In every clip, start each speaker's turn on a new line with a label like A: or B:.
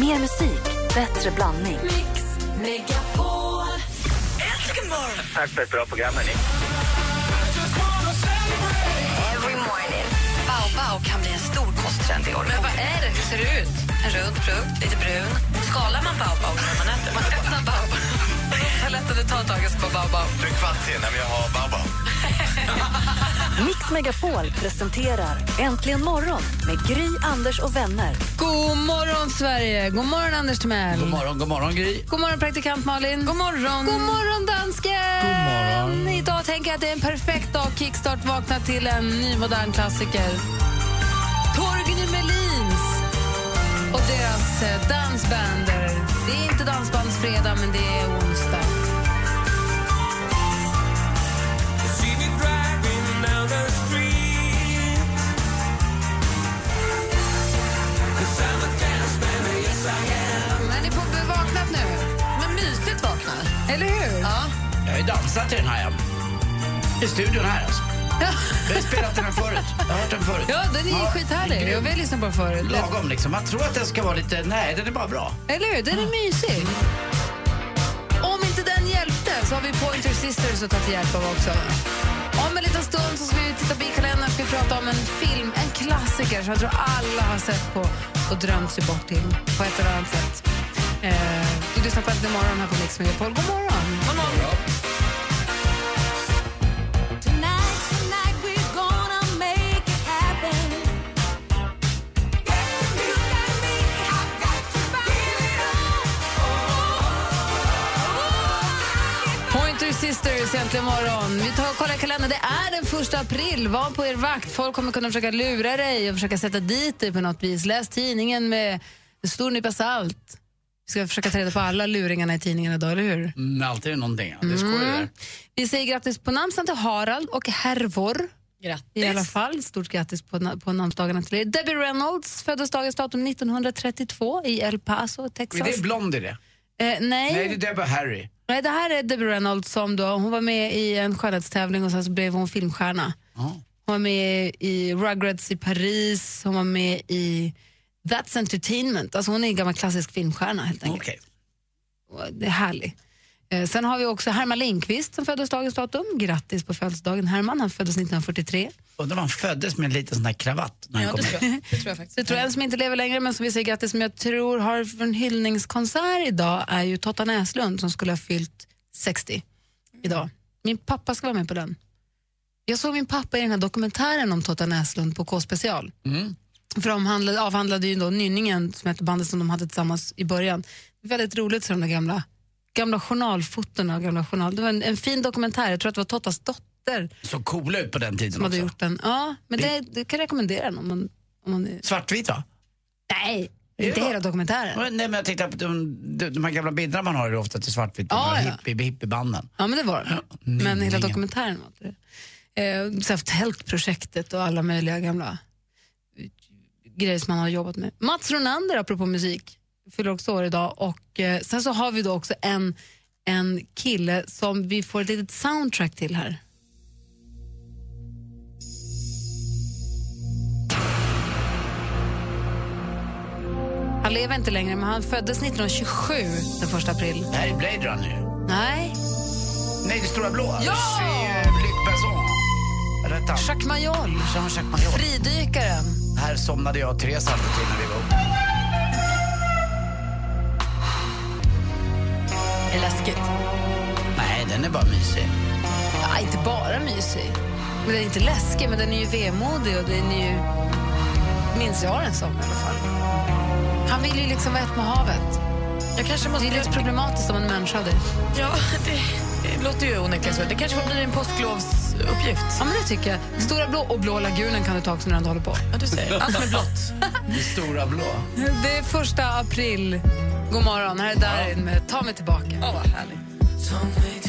A: Mer musik, bättre blandning.
B: Mix Megapol. Äntligen morgon!
C: Tack för ett bra program, hörni.
B: Every morning. Bao Bao kan bli en stor kosttrend i år. Men vad är det? Hur ser det ut? En rund frukt, lite brun. Skalar man Bao Bao när man äter? Man öppnar Bao Bao. Så lätt att du tar taget på Bao Bao.
C: Du är kvart sen, men jag har Baobab.
A: Mix Megapol presenterar Äntligen morgon med Gry, Anders och vänner.
D: God morgon, Sverige! God morgon, Anders Timell!
E: God morgon, god morgon Gry.
D: God morgon, praktikant Malin. God morgon, God morgon dansken. God morgon. Idag tänker jag att det är en perfekt dag att kickstart vakna till en ny modern klassiker. Torgny Melins och deras eh, dansbander. Det är inte dansbandsfredag, men det är onsdag. Är ni på bevaknat nu?
B: Men mysigt vaknar.
D: Eller hur?
B: Ja.
E: Jag har ju dansat till den här. ja. I studion här alltså. Jag har ju spelat den här förut. Jag har hört den förut.
D: Ja, den är ju skithärlig. Jag
E: grym.
D: har lyssnat på den förut.
E: Lagom liksom. Man tror att den ska vara lite... Nej, den är bara bra.
D: Eller hur? Den är mysig. Om inte den hjälpte så har vi Pointer Sisters att ta till hjälp av också. Om en liten stund så ska vi titta bilkalendern ska vi prata om en film, en klassiker som jag tror alla har sett på och drömt sig bort till på ett eller annat sätt. Eh, du lyssnar på Äntligen morgon här på Mix Megapol. God morgon! Pointer Sisters, äntligen morgon. Vi tar och kollar i kalendern. Det är den första april. Var på er vakt. Folk kommer kunna försöka lura dig och försöka sätta dit dig på något vis. Läs tidningen med en stor nypa salt. Vi ska försöka ta reda på alla luringarna i tidningen idag, eller hur? Mm.
E: Mm, alltid är det någonting. Det skojar ju där.
D: Vi säger grattis på namnsdagen till Harald och Hervor.
B: Grattis.
D: I alla fall, stort grattis på, na- på namnsdagarna till er. Debbie Reynolds föddes dagens datum 1932 i El Paso, Texas.
E: Är Mm. det blond i det?
D: Eh, nej.
E: Nej, det är Deborah Harry.
D: Nej, det här är Debbie Reynolds som då, hon var med i en skönhetstävling och sen så blev hon filmstjärna.
E: Ja.
D: Hon var med i Rugrats i Paris, hon var med i That's Entertainment. Alltså hon är en gammal klassisk filmstjärna helt enkelt.
E: Okej.
D: Och Det är härligt. Eh, Sen har vi också Herman Lindqvist som föddes dagens datum. Grattis på födelsedagen Herman, han föddes 1943.
E: Undrar om han föddes med en liten sån här kravatt när han kom hit.
B: Det tror jag faktiskt.
D: Så jag tror en som inte lever längre men som vi säger grattis som jag tror har en hyllningskonsert idag är ju Totta Näslund som skulle ha fyllt 60 idag. Min pappa ska vara med på den. Jag såg min pappa i den här dokumentären om Totta Näslund på K-special.
B: Mm.
D: För de handlade, avhandlade ju då Nynningen som hette bandet som de hade tillsammans i början. Det var väldigt roligt så de där gamla, gamla journalfotorna och gamla journal. Det var en, en fin dokumentär, jag tror att det var Tottas dotter
E: Så coola ut på den tiden
D: som hade
E: också.
D: gjort den. Ja, men det, det kan jag rekommendera den om man, om man är
E: Svartvit va?
D: Nej,
E: det
D: inte
E: bra?
D: hela dokumentären.
E: Nej, men jag tänkte på de, de, de här gamla bilderna man har är ofta till svartvitt.
D: Ja,
E: Ja,
D: ja.
E: hippie, hippiebanden.
D: Ja, men det var den. Men hela
E: Nynningen.
D: dokumentären var inte det. Eh, så här, tältprojektet och alla möjliga gamla grejer som man har jobbat med. Mats Ronander, apropå musik, fyller också år idag. Och, eh, sen så har vi då också en, en kille som vi får ett litet soundtrack till här. Han lever inte längre, men han föddes 1927, den första april.
E: Det här är Blade Runner ju.
D: Nej,
E: Nej, det stora blå.
D: Ja!
E: Det är eh, Luc Besson. Rätt han.
D: Jacques Mayol,
E: Jean-Jacques Major.
D: fridykaren.
E: Här somnade jag och Therese alltid till när vi var uppe.
D: Är läskigt.
E: Nej, den är bara mysig.
D: Ja, inte bara mysig. Men den är inte läskig, men den är ju vemodig och den är ju... Minns jag den som i alla fall. Han vill ju liksom vara ett med havet.
B: Jag kanske
D: Det
B: måste...
D: är lite problematiskt om en människa av det.
B: Ja, det, det låter ju onekligen så. Det kanske får bli en påsklovsuppgift.
D: Ja, men det tycker jag. Stora blå och blå lagunen kan du ta också när du håller på.
B: Ja, du säger. Allt med blått.
E: Det stora blå.
D: Det är första april. God morgon, här är Darin med Ta mig tillbaka.
B: Åh, vad härligt.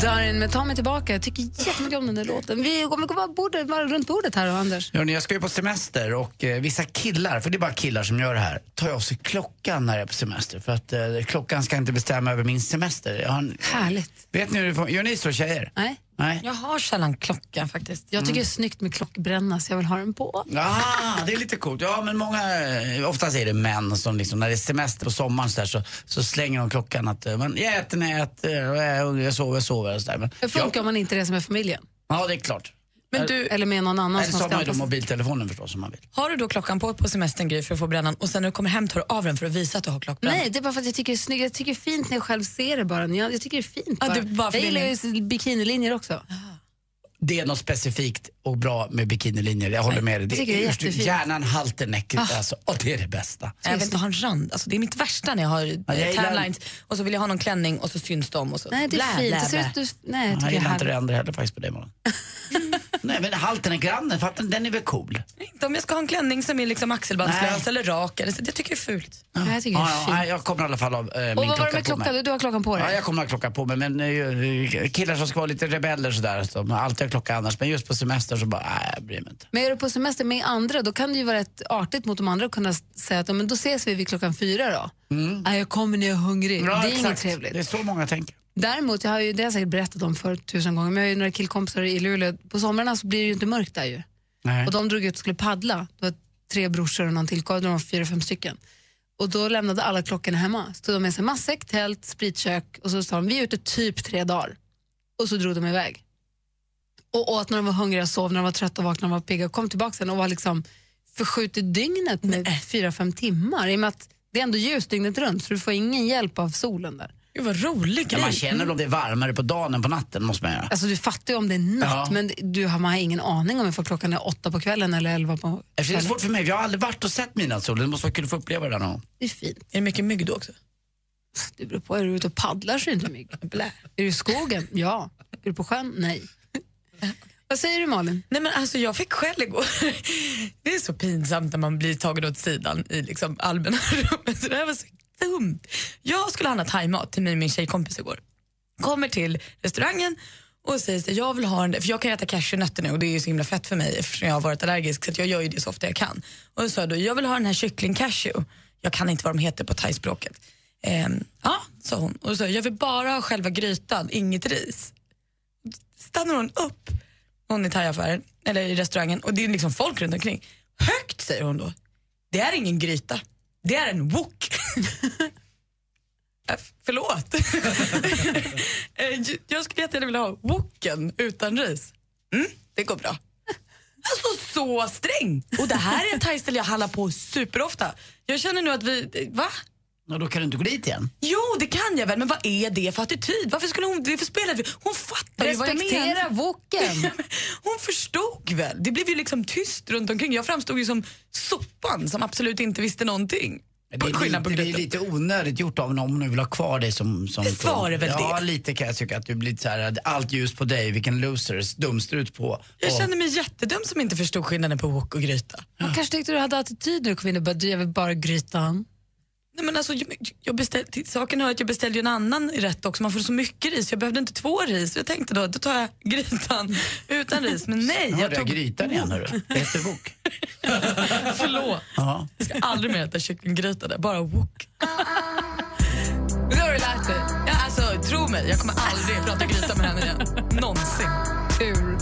D: Darin med Ta mig tillbaka. Jag tycker jättemycket om den där låten. Vi kommer gå bara bordet, bara runt bordet här, Anders.
E: Hörrni, jag ska ju på semester och eh, vissa killar, för det är bara killar som gör det här, tar jag av sig klockan när jag är på semester. För att eh, klockan ska inte bestämma över min semester. Jag har en,
D: Härligt.
E: vet ni hur det får, Gör ni så tjejer?
D: Nej?
E: Nej?
F: Jag har sällan klocka faktiskt.
D: Jag tycker det är snyggt med klockbränna, så jag vill ha den på.
E: Ah, det är lite coolt. Ja, men många, eh, oftast är det män som liksom, när det är semester på sommaren så, där, så, så slänger de klockan att eh, men, jag äter när jag äter, och jag är hungrig, jag sover, jag sover och sådär. Men,
D: Det funkar om man inte reser med familjen.
E: ja, ja, det är klart.
F: Men du,
D: Eller med någon annan
E: Eller så
D: som
E: har
D: ska
E: man ju då
D: anpassa sig.
E: mobiltelefonen förstås om man vill.
F: har du då klockan på på semestern Gry för att få brännan och sen när du kommer hem tar du av den för att visa att du har klockbrännan?
D: Nej, det är bara för att jag tycker det är snyggt. Jag tycker det är fint när jag själv ser det bara. Jag, jag tycker det är fint
F: Ja,
D: bara.
F: det är bara för
D: jag gillar
F: din-
D: ju s- bikinilinjer också.
E: Det är något specifikt och bra med bikinilinjer, jag håller med dig.
D: jag tycker det är jättefint. Ah.
E: hjärnan halter näcket alltså, och det är det bästa.
F: Jag vill inte ha en rand. Alltså, det är mitt värsta när jag har
E: jag
F: eh,
E: gillar-
F: tanlines och så vill jag ha någon klänning och så syns de och så
D: Nej, det är
F: Blä,
D: fint.
F: blä,
D: Det ser
F: blä.
D: ut du... Nej, jag
E: Jag
D: tycker det är
E: gillar inte det
D: härligt.
E: andra heller faktiskt på dig imorgon. Nej men halten är grannen, fattar ni? Den är väl cool?
F: Inte om jag ska ha en klänning som är liksom axelbandslös
E: Nej.
F: eller rak. Eller så. Det tycker jag är fult.
D: Nej, jag tycker det
E: Ja,
D: är
E: ja, nej,
D: fint.
E: jag kommer i alla fall av eh, min
D: Och vad var det
E: klocka
D: med
E: på mig.
D: klockan? Du, du har klockan på
E: Ja,
D: dig?
E: jag kommer att ha klocka på mig, men eh, killar som ska vara lite rebeller sådär, som alltid har klocka annars, men just på semester så bara, nej jag bryr mig inte.
D: Men är du på semester med andra, då kan det ju vara rätt artigt mot de andra att kunna s- säga att "Ja, men då ses vi vid klockan fyra då.
E: Mm.
D: Nej, jag kommer när jag är hungrig. det är inget trevligt.
E: Det är så många tänker.
D: Däremot, jag har ju, det har jag säkert berättat om för tusen gånger, men jag har ju några killkompisar i Luleå. På somrarna så blir det ju inte mörkt där ju.
E: Nej.
D: Och de drog ut och skulle paddla. Det var tre brorsor och någon till, de var fyra, fem stycken. Och då lämnade alla klockorna hemma. Så de med sig matsäck, tält, spritkök och så sa de vi är ute typ tre dagar. Och så drog de iväg. Och åt när de var hungriga, sov när de var trötta, vaknade när de var pigga. Kom tillbaka sen och var liksom förskjutit dygnet med fyra, fem timmar. I och med att det är ändå ljust dygnet runt så du får ingen hjälp av solen där.
F: Gud vad rolig
E: Ja,
F: grej.
E: man känner om det är varmare på dagen än på natten, måste man göra.
D: Alltså du fattar ju om det är natt,
E: Ja.
D: men du har, man har ingen aning om ifall klockan är åtta på kvällen eller elva på
E: Eftersom Det är
D: kvällen.
E: svårt för mig, för jag har aldrig varit och sett midnattssolen, det måste vara kul att få uppleva det där någon gång.
D: Det är fint.
F: Är det mycket mygg då också?
D: Det beror på, är du ute och paddlar så är det inte mygg. Blä. Är du i skogen? Ja. Är du på sjön? Nej. Vad säger du Malin?
F: Nej men alltså jag fick skäll igår. Det är så pinsamt när man blir tagen åt sidan i liksom allmänna rummet. Så Det här var så dumt. Jag skulle handla thaimat till mig och min tjejkompis igår. Kommer till restaurangen och säger så här, jag vill ha den där, för jag kan äta cashewnötter nu och det är ju så himla fett för mig eftersom jag har varit allergisk så att jag gör ju det så ofta jag kan. Och så sa jag då, jag vill ha den här kyckling-cashew. Jag kan inte vad de heter på thaispråket. Ehm, ja, sa hon. Och så sa jag, jag vill bara ha själva grytan, inget ris stannar hon upp, hon i thaiaffären, eller i restaurangen, och det är liksom folk runt omkring. Högt säger hon då, det är ingen gryta, det är en wok. Eh, Förlåt. Eh, j- jag skulle jättegärna vilja ha woken utan ris. Mm, det går bra. Alltså så sträng! Och det här är en thaiställe jag hallar på superofta. Jag känner nu att vi, eh, va?
E: Och då kan du inte gå dit igen.
F: Jo, det kan jag väl, men vad är det för attityd? Varför skulle hon, det är för spelare. Hon fattar ju vad jag menar.
D: Respektera woken!
F: Hon förstod väl? Det blev ju liksom tyst runt omkring. Jag framstod ju som soppan som absolut inte visste någonting.
E: Det
F: På
E: är,
F: skillnad på
E: lite, det är
F: grytan.
E: lite onödigt gjort av någon om nu vill ha kvar dig som... som
F: Visst var det väl
E: Ja,
F: det?
E: lite kan jag tycka att du blir lite så här, allt ljus på dig, vilken loser, dumstrut på.
F: Jag
E: Och-
F: kände mig jättedum som inte förstod skillnaden på wok och gryta.
D: Man kanske tyckte du hade attityd när du kom in och bara, du jag vill bara grytan.
F: Nej, men alltså, jag, jag beställ, till saken hör att jag beställde ju en annan rätt också. Man får så mycket ris. Jag behövde inte två ris. Jag tänkte då, då tar jag grytan utan ris. Men nej,
E: Nu
F: jag
E: hörde jag
F: tog... Mm.
E: grytan igen hörru. Det heter bok.
F: Förlåt.
E: Ja.
F: Jag ska aldrig mer äta kycklinggryta där, bara wok. Nu har du lärt dig. Ja, alltså, tro mig, jag kommer aldrig prata gryta med henne igen. Någonsin.
D: Tur.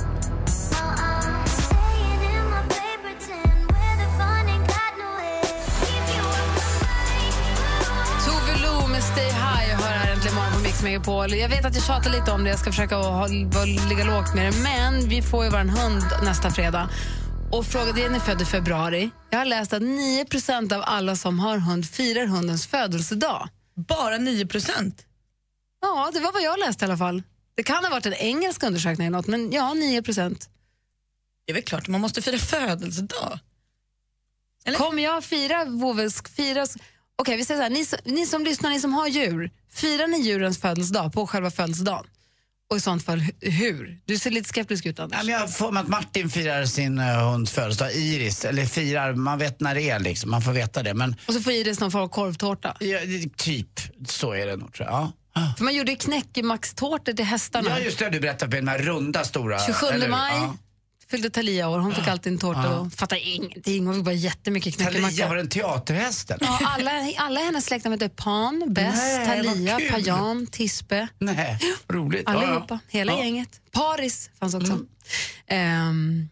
D: Tove Lo med Stay High och hör här äntligen morgon på Mix Megapol. Jag vet att jag tjatar lite om det, jag ska försöka att ha, vara- ligga lågt med det. Men vi får ju vår hund nästa fredag. Och frågan den är född i februari. Jag har läst att 9 av alla som har hund firar hundens födelsedag.
F: Bara 9 procent.
D: Ja, det var vad jag läste i alla fall. Det kan ha varit en engelsk undersökning eller något, men ja, 9
F: Det är väl klart, man måste fira födelsedag. Eller?
D: Kommer jag fira Vovelsk? Fira... Okej, vi säger så här. Ni, som- ni som lyssnar, ni som har djur, firar ni djurens födelsedag på själva födelsedagen? Och i sånt fall hu- hur? Du ser lite skeptisk ut,
E: Nej,
D: Anders.
E: men jag får med att Martin firar sin uh, hunds födelsedag, Iris. Eller firar, man vet när det är liksom, man får veta det. Men
D: Och så får Iris någon form av korvtårta.
E: ja, det- typ så är det nog tror jag. Ja.
D: För man gjorde ju knäckemackstårtor till hästarna.
E: Ja, just det. Du berättade om den här runda stora.
D: 27
E: eller-
D: maj
E: Ja.
D: fyllde Talia år. Hon fick alltid en tårta och fattade ingenting. Hon fick bara jättemycket
E: Talia, var
D: knäckemacka.
E: den teaterhästen?
D: Ja, alla, alla hennes släktingar hette Pan, Bess,
E: Nej, vad
D: Talia,
E: kul.
D: Pajan, Tispe.
E: Nej, roligt. Ja, ja.
D: Allihopa, hela
E: Ja. Mm.
D: gänget. Paris fanns också. Ehm,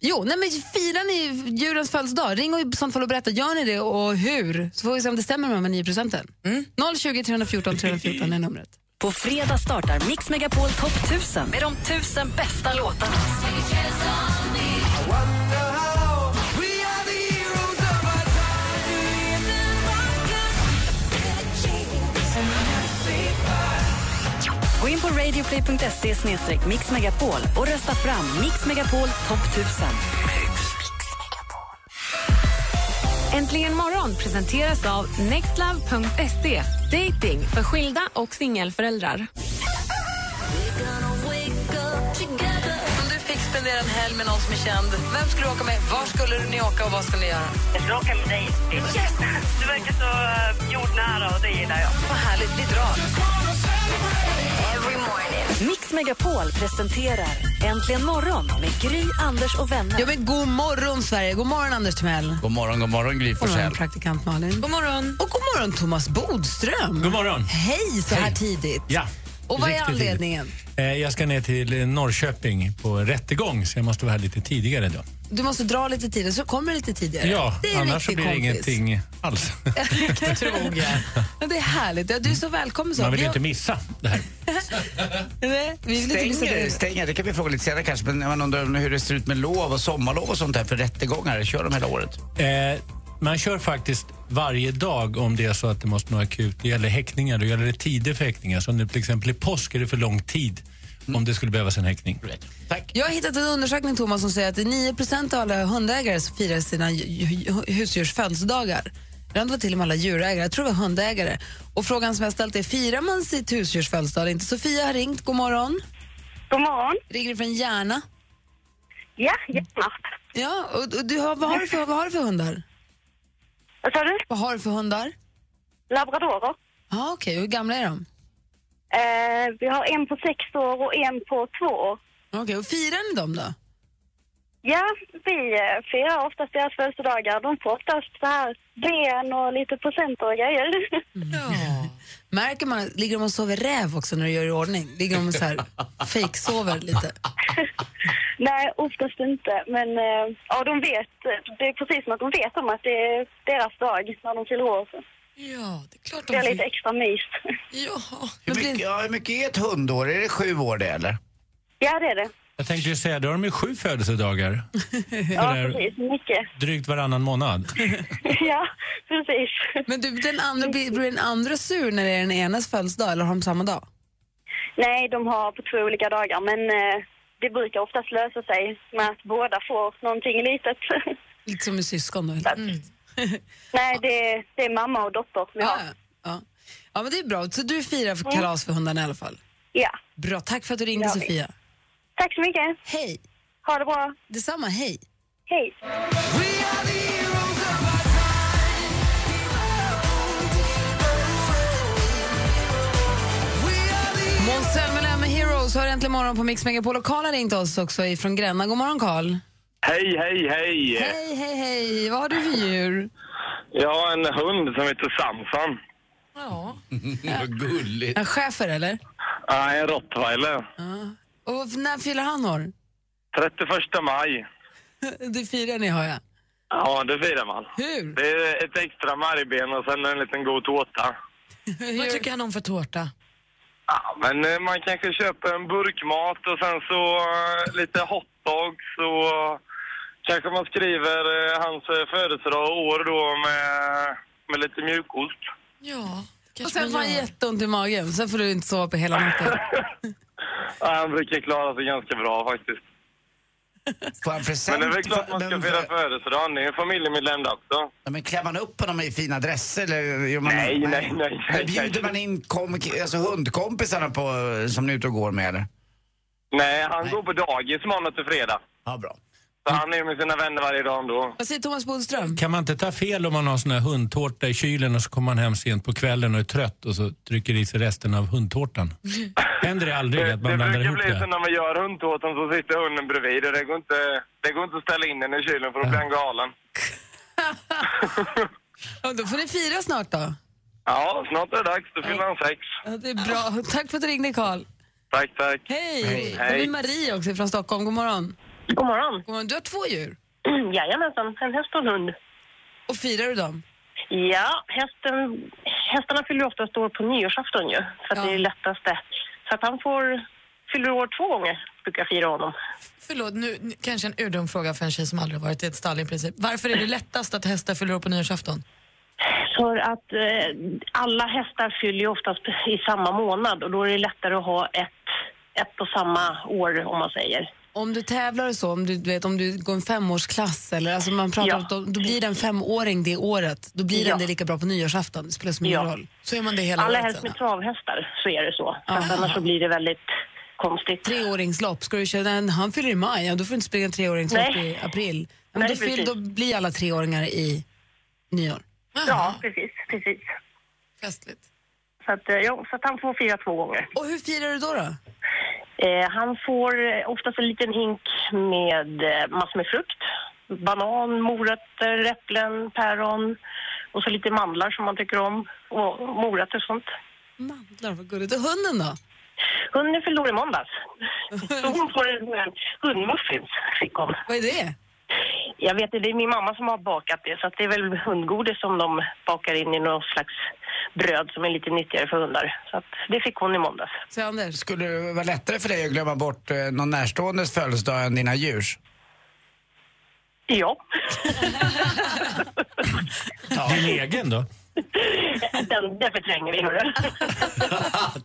D: jo, nej men firar ni djurens födelsedag? Ring och i sånt fall och berätta. Gör ni det och hur? Så får vi se om det stämmer med de här 9 procenten.
E: Mm.
D: 020 314 314 är numret.
A: På fredag startar Mix Megapol Top 1000 med de tusen bästa låtarna. Gå in på radioplay.se mixmegapol och rösta fram Mix Megapol Top 1000.
G: Äntligen morgon presenteras av nextlove.se. Dating för skilda och singelföräldrar.
B: Om du fick spendera en helg med någon som är känd, vem skulle du åka med? Var skulle ni åka och vad skulle ni göra?
H: Jag skulle åka med dig. Du verkar så eh, jordnära och det gillar jag.
B: Vad härligt, vi drar. Every morning.
A: Mix Megapol presenterar Äntligen morgon med Gry, Anders och vänner.
D: Ja, men god morgon, Sverige. God morgon, Anders Timell.
E: God morgon, god morgon Gry
D: God morgon,
E: Forssell.
D: praktikant Malin.
F: God morgon.
D: Och god morgon, Thomas Bodström.
I: God morgon.
D: Hej, så här
I: Hej.
D: tidigt.
I: Ja.
D: Och vad är
I: riktigt
D: anledningen?
I: tidigt. Eh, Jag ska ner till eh, Norrköping på en rättegång så jag måste vara här lite tidigare då.
D: Du måste dra lite tidigare, så kommer det lite tidigare.
I: Ja,
D: det är en
I: annars så
D: riktig
I: blir det
D: kompis.
I: ingenting
E: Alltså.
I: alls.
D: Ja, det är härligt. Ja, du är så välkommen. Så.
I: Man vill
D: Vi
I: ju
D: har-
I: inte missa det här.
D: Nej, vi vill inte missa
E: Stänger,
D: det.
E: stänger, det kan vi fråga lite senare kanske, men man undrar hur det ser ut med lov och sommarlov och sånt där för rättegångar. Kör de hela året?
I: Eh, man kör faktiskt varje dag om det är så att det måste vara akut. Det gäller häktningar, då gäller det tider för häktningar. Som nu till exempel i påsk är det för lång tid om det skulle behövas en häktning.
E: Tack.
D: Jag har hittat en undersökning Thomas som säger att det är 9 av alla hundägare som firar sina ju- ju- husdjurs födelsedagar. Det andra var till och med alla djurägare. Jag tror det var hundägare. Och frågan som jag har ställt är, firar man sitt husdjurs födelsedag eller inte? Sofia har ringt, god morgon.
H: God morgon.
D: Ringer från Järna.
H: Ja, gärna.
D: Ja, och, och du har, vad, har du för, vad har du för hundar?
H: Vad sa du?
D: Vad har du för hundar?
H: Labradorer.
D: Ja, okej. Hur gamla är de?
H: Eh, vi har en på sex år och en på två år.
D: Okej, och firar ni dem då?
H: Ja, vi eh, firar oftast deras födelsedagar. De får oftast så här ben och lite presenter och grejer.
D: Märker man, ligger de och sover räv också när du gör i ordning? Ligger de och så här fejksover lite?
H: Nej, oftast inte. Men eh, ja, de vet. Det är precis som att de vet om att det är deras dag när de fyller år. Så
F: Ja, det är klart
H: det är
F: de
H: lite extra mys.
F: Ja.
E: Hur mycket, ja, hur mycket är ett hundår? Är det sju år det eller?
H: Ja, det är det.
I: Jag tänkte ju säga, då har de ju sju födelsedagar.
H: Ja,
I: där-
H: precis. Mycket.
I: Drygt varannan månad.
H: Ja, precis.
D: Men du, den andra, blir, blir den andra sur när det är den enas födelsedag eller har de samma dag?
H: Nej, de har på två olika dagar, men eh, det brukar oftast lösa sig med att båda får någonting litet.
D: Lite som med syskon då? eller?
H: Mm. Nej, det, är- det är mamma och dotter vi
D: Ja,
H: har.
D: ja, ja. ja, men det är bra. Så du firar för kalas för hundarna i alla fall?
H: Ja.
D: Bra, tack för att du ringde
H: Mm. Ja, vi-
D: Sofia.
H: Tack så mycket.
D: Hej!
H: Ha det bra.
D: Detsamma, hej!
H: Hej.
D: Måns Zelmerlöw med Heroes har äntligen morgon på Mix Megapol och Karl har ringt oss också ifrån Gränna. God morgon Karl!
C: Hej, hej, hej!
D: Hej, hej, hej! Vad har du för djur?
C: Jag har en hund som heter Samson.
E: Vad gulligt.
D: En schäfer Äh, eller?
C: Nej, en rottweiler.
D: Och f- när fyller han år?
C: 31 maj.
D: Det firar ni har jag.
C: Ja, det firar man.
D: Hur?
C: Det är ett extra margben och sen en liten god tårta.
F: Vad tycker han om för tårta?
C: Ja, men eh, man kanske köper en burkmat och sen så eh, lite hotdogs och kanske man skriver eh, hans eh, födelsedag och år då med, med lite mjukost.
F: Ja,
D: Och
F: kanske
D: sen får
F: man
D: han
F: gör.
D: jätteont i magen, sen får du inte sova på hela natten.
C: Ja, han brukar klara sig ganska bra faktiskt.
E: Får han present?
C: Men det är väl klart man ska
E: Men-
C: fira födelsedagen. Det är en familjemedlem det också.
E: Ja, men klär man upp honom i fina dresser? Eller gör man,
C: Nej, nej, nej, nej,
E: Men Bjuder
C: nej.
E: man in kom, alltså hundkompisarna på, som ni är ute och går med? Eller?
C: Nej, han går på dagis måndag till fredag.
E: Ja, bra.
C: Så han är ju med sina vänner varje dag ändå.
F: Vad säger Thomas Bodström?
I: Kan man inte ta fel om man har sån här hundtårta i kylen och så kommer man hem sent på kvällen och är trött och så trycker i sig resten av hundtårtan? Händer det aldrig
C: Det,
I: att man
C: det
I: blandar
C: brukar
I: ihop
C: bli så
I: det?
C: när man gör hundtåten så sitter hunden bredvid och det går inte, det går inte att ställa in den i kylen för då blir han galen.
F: Ja, då får ni fira snart då.
C: Ja, snart är det dags. Då fyller han sex.
F: Ja, det är bra. Tack för att du ringde, Karl.
C: Tack, tack.
F: Hej!
C: Hej.
F: Här är Marie också från Stockholm. God morgon.
J: God morgon.
F: God morgon. Du har två djur.
J: Jajamensan, en häst och en hund.
F: Och firar du dem?
J: Ja, hästen, hästarna fyller ju oftast år på nyårsafton ju, för att
F: Ja.
J: det är lättaste. Så att han får, fyller år två gånger, brukar jag fira honom.
D: Förlåt, nu nu- kanske en urdum fråga för en tjej som aldrig har varit i ett stall i princip. Varför är det lättast att hästar fyller år på nyårsafton?
J: För att eh, alla hästar fyller ju oftast i samma månad och då är det lättare att ha ett, ett och samma år, om man säger.
F: Om du tävlar och så, om du, du vet, om du går en femårsklass eller alltså man pratar
J: Ja.
F: om, då, då blir det en femåring det året. Då blir den det lika bra på nyårsafton. Det spelar som ingen
J: Ja.
F: roll.
D: Så är man det hela
J: Alla
D: året
J: helst
D: sen.
J: med travhästar så är det så. För att annars så blir det väldigt konstigt.
F: Treåringslopp, ska du köra den? Han fyller i maj, ja, då får du inte springa treåringslopp
J: Nej.
F: i april. Ja, men
J: Nej,
F: då, fyll,
J: precis.
F: då blir alla treåringar i nyår.
J: Ja, precis, precis.
D: Festligt.
J: Så att, eh, ja, så att han får fira två gånger.
F: Och hur firar du då? då?
J: Eh, han får eh, oftast en liten hink med eh, massor med frukt. Banan, morötter, äpplen, päron och så lite mandlar som man tycker om. Och morötter och sånt.
F: Mandlar, vad gulligt. Och hunden då?
J: Hunden fyllde år i måndags. Så hon får en en hundmuffins, fick hon.
F: Vad är det?
J: Jag vet inte, det är min mamma som har bakat det så att det är väl hundgodis som de bakar in i någon slags bröd som är lite nyttigare för hundar. Så att det fick hon i måndags.
F: Säger Anders?
E: Skulle det vara lättare för dig att glömma bort eh, någon närståendes födelsedag än dina djurs?
J: Ja,
I: Din egen då?
J: den, den förtränger vi, hörru.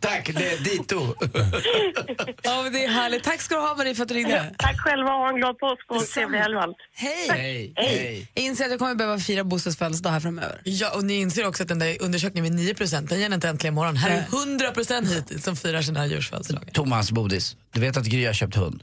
E: Tack, det är dito.
F: Ja, men det är härligt. Tack ska du ha Marie för att du ringde.
J: Tack själva och ha en glad påsk och trevlig helg och allt.
F: Hej!
E: Hej, hej.
F: Jag inser att jag kommer behöva fira Bosses födelsedag här framöver.
D: Ja, och ni inser också att den där undersökningen med 9 den ger inte äntligen imorgon. Här är 100 hittills som firar sina djurs födelsedagar.
E: Thomas Bodis, du vet att Gry har köpt hund?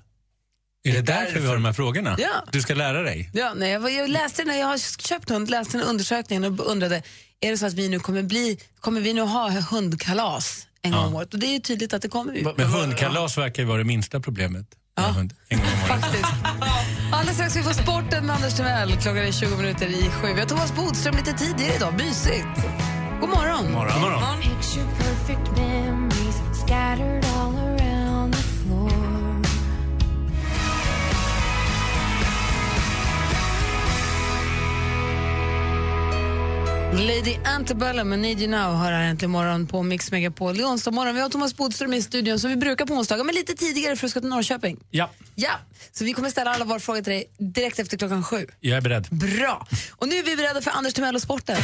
I: Är det därför vi har de här frågorna?
F: Ja.
I: Du ska lära dig.
F: Ja, nej, jag, var- jag läste när jag har köpt hund, läste den undersökningen och undrade, är det så att vi nu kommer bli, kommer vi nu ha hundkalas en gång om året? Och det är ju tydligt att det kommer vi.
I: Men hundkalas verkar ju vara det minsta problemet. med hund. En gång om året.
F: Faktiskt. Alldeles strax ska vi få sporten med Anders Timell. Klockan är 20 minuter i sju. Vi har Thomas Bodström lite tidigare idag. Mysigt. God morgon.
I: God morgon.
F: Lady Antebellum med Need You Now hör här äntligen morgon på Mix Megapol. Det är onsdag morgon. Vi har Thomas Bodström i studion som vi brukar på onsdagar, men lite tidigare för att ska till Norrköping.
I: Ja,
F: Ja, så vi kommer ställa alla våra frågor till dig direkt efter klockan sju.
I: jag är beredd.
F: Bra! Och nu är vi beredda för Anders Timell och sporten.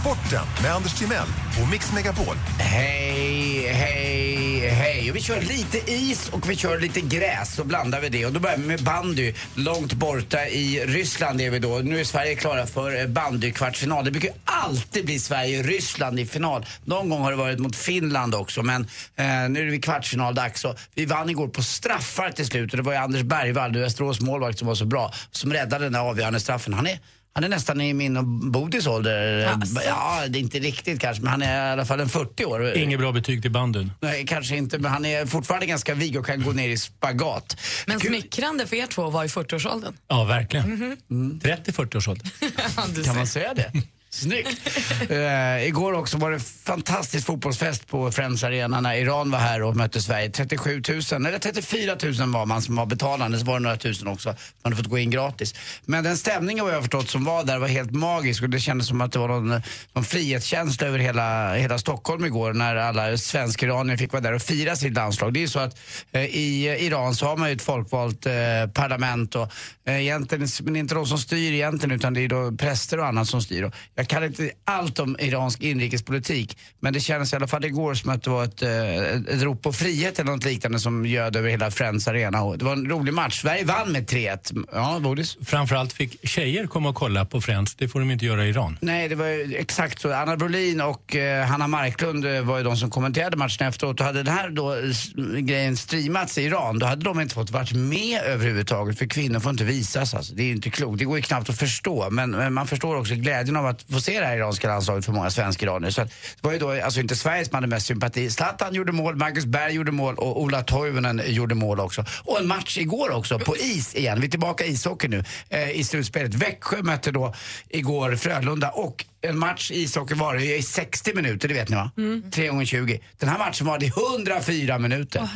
K: Sporten med Anders Timell och Mix Megapol.
E: Hej, hej, hej. Och vi kör lite is och vi kör lite gräs så blandar vi det. Och då börjar vi med bandy. Långt borta i Ryssland är vi då. Nu är Sverige klara för eh, bandykvartsfinal. Det brukar ju alltid bli Sverige-Ryssland i final. Någon gång har det varit mot Finland också men eh, nu är det kvartsfinaldags. Och vi vann igår på straffar till slut och det var ju Anders Bergvall, Västerås målvakt, som var så bra. Som räddade den där avgörande straffen. Han är han är nästan i min och Bodis ålder. eh, Ja, det är inte riktigt kanske, men han är i alla fall en 40 år.
I: Inget bra betyg till banden.
E: Nej, kanske inte, men han är fortfarande ganska vig och kan gå ner i spagat.
D: Men
E: Kul-
D: smickrande för er två var i 40-årsåldern.
I: Ja, verkligen.
D: Mhm. Mm.
I: 30-40 års ålder.
E: Kan man säga det? Snyggt! Eh, igår också var det fantastisk fotbollsfest på Friends Arena när Iran var här och mötte Sverige. 37 000, eller 34 000 var man som var betalande, så var det några tusen också. Man hade fått gå in gratis. Men den stämningen vad jag har förstått som var där var helt magisk och det kändes som att det var någon, någon frihetskänsla över hela, hela Stockholm igår när alla svensk-iranier fick vara där och fira sitt landslag. Det är ju så att eh, i eh, Iran så har man ju ett folkvalt eh, parlament och eh, egentligen, men det är inte de som styr egentligen utan det är då präster och annat som styr. Och Jag kan inte allt om iransk inrikespolitik, men det kändes i alla fall igår som att det var ett, eh, ett rop på frihet eller något liknande som göd över hela Friends Arena. Och Det var en rolig match. Sverige vann med 3-1. Ja, Bodis?
I: Framförallt fick tjejer komma och kolla på Friends. Det får de inte göra i Iran.
E: Nej, det var ju exakt så. Anna Brolin och eh, Hanna Marklund eh, var ju de som kommenterade matchen efteråt. Och hade den här då, eh, s- grejen streamats i Iran, då hade de inte fått varit med överhuvudtaget. För kvinnor får inte visas. Alltså. Det är ju inte klokt. Det går ju knappt att förstå. Men, men man förstår också glädjen av att få se det här iranska landslaget för många svenska iranier. Så att, det var ju då alltså inte Sverige som hade mest sympati. Zlatan gjorde mål, Marcus Berg gjorde mål och Ola Toivonen gjorde mål också. Och en match igår också, på is igen. Vi är tillbaka i ishockey nu eh, i slutspelet. Växjö mötte då igår Frölunda och en match i ishockey var det ju i 60 minuter, det vet ni va? 3 gånger 20. Den här matchen var det i 104 minuter.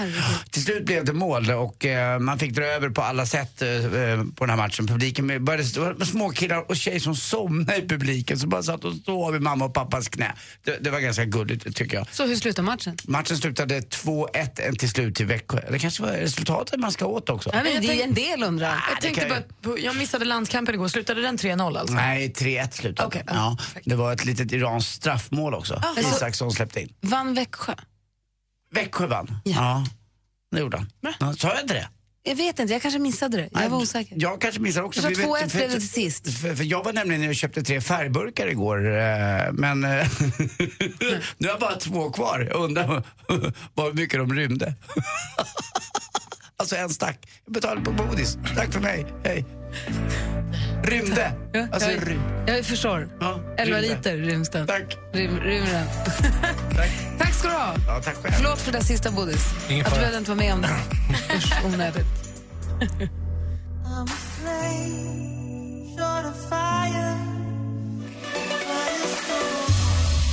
E: Till slut blev det mål och eh, man fick dra över på alla sätt eh, eh, på den här matchen. Publiken började, det var små killar och tjejer som somnade i publiken som bara satt och stod vid mamma och pappas knä. Det, det var ganska gulligt tycker jag.
D: Så hur slutar matchen?
E: Matchen slutade 2-1 till slut till Växjö. Det kanske var resultatet man ska åt också.
D: Nej, men det är ju en del undrar.
F: Jag tänkte
E: kan
F: bara,
E: jag-
F: att på- jag missade landskampen igår. Slutade den 3-0 alltså?
E: Nej, 3-1 slutade
F: Okej,
E: det. ja, Det var ett litet iranskt straffmål också.
D: Alltså-
E: Isaksson släppte in.
D: Vann Växjö?
E: Växjö vann. Ja. det gjorde han. Ja, sa jag inte det?
D: Jag vet inte, jag kanske missade det. Jag var osäker.
E: Jag kanske missar också.
D: Jag tror
E: Vi vet-
D: 2-1 blev det till sist.
E: För, för jag var nämligen nere och köpte tre färgburkar igår. eh, Men eh, nu har jag bara två kvar. Jag undrar vad mycket de rymde. alltså en stack. Jag betalade på bodis. Tack för mig. Hej. Rymde. Alltså,
D: jag,
E: rymde.
D: jag förstår.
E: Ja,
D: 11
E: rymde.
D: liter ryms den.
E: Tack.
D: Rym, rymmer den. Tack. ska du ha.
E: Ja, tack själv.
D: Förlåt för det där sista, Bodis.
I: Ingen
D: Att du
I: fara.
D: behövde inte vara med om det. Usch, onödigt.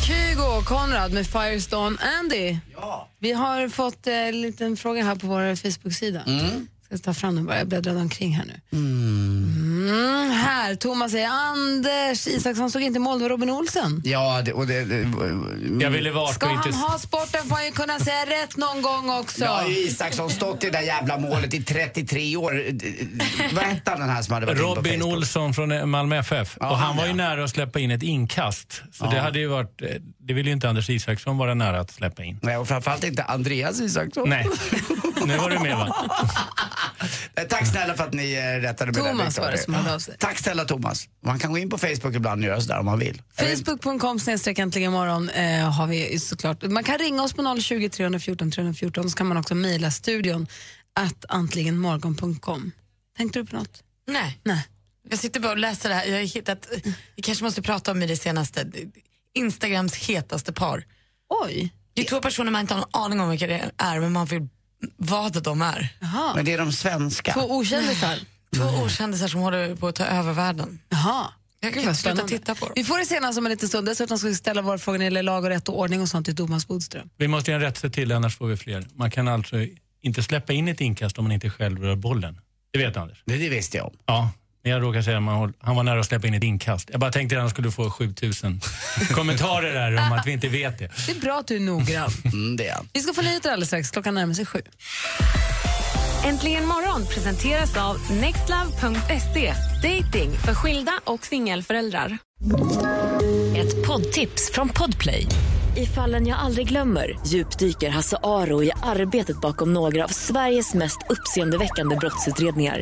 D: Kygo och Konrad med Firestone Andy.
E: Ja.
D: Vi har fått eh, en liten fråga här på vår Facebook-sida.
E: Mm.
D: Ska ta fram den bara, jag bläddrade omkring här nu. Mm, här, Thomas säger Anders Isaksson såg inte mål, det var Robin Olsen.
E: Ja, det, och det, det,
I: Jag ville vara
D: Ska
I: artig och
D: han
I: inte...
D: ha sporten får han ju kunna säga rätt någon gång också.
E: Ja, Isaksson stått i det där jävla målet i 33 år. Vad hette han den här som hade varit inne på
I: Robin
E: Facebook?
I: Olsson från Malmö FF.
E: Ja,
I: och han
E: han,
I: var ju
E: ja.
I: nära att släppa in ett inkast. Så
E: Ja.
I: det hade ju varit... eh, Det ville ju inte Anders Isaksson vara nära att släppa in.
E: Nej, och framförallt inte Andreas Isaksson.
I: Nej, nu var du med va?
E: Eh, Tack snälla för att ni eh, rättade mig. där,
D: Thomas
E: Viktor.
D: var det som hörde av sig.
E: Tack snälla Thomas. Man kan gå in på Facebook ibland och göra sådär om man vill.
D: Facebook.com snedstreck äntligen imorgon eh, har vi såklart. Man kan ringa oss på 020 314 314 så kan man också mejla studion att antligenmorgon.com. Tänkte du på något?
F: Nej.
D: Nej.
F: Jag sitter bara och läser det här. Jag har hittat, vi kanske måste prata om i det senaste. Instagrams hetaste par.
D: Oj.
F: Det är två personer man inte har någon aning om vilka det är, men man får ju vad de är.
E: Men det är de svenska.
D: Två okändisar?
F: Två okändisar som håller på att ta över världen.
D: Jaha.
F: Jag kan
D: Gud, vad
F: inte sluta
D: spännande.
F: titta på dem.
D: Vi får det senast om en liten stund. Dessutom ska vi ställa vår fråga när det gäller lag och rätt och ordning och sånt till Thomas Bodström.
I: Vi måste göra en rättelse till annars får vi fler. Man kan alltså inte släppa in ett inkast om man inte själv rör bollen. Det vet Anders.
E: Det, det visste jag om.
I: Ja, men jag råkar säga att man, håll- han var nära att släppa in ett inkast. Jag bara tänkte att han skulle få 7000 kommentarer där om att vi inte vet det.
D: Det är bra att du är noggrann.
E: Mm, det är han.
D: vi ska få nyheter alldeles strax. Klockan närmar sig sju.
G: Äntligen morgon presenteras av nextlove.se. Dating för skilda och singelföräldrar.
L: Ett poddtips från Podplay. I fallen jag aldrig glömmer djupdyker Hasse Aro i arbetet bakom några av Sveriges mest uppseendeväckande brottsutredningar.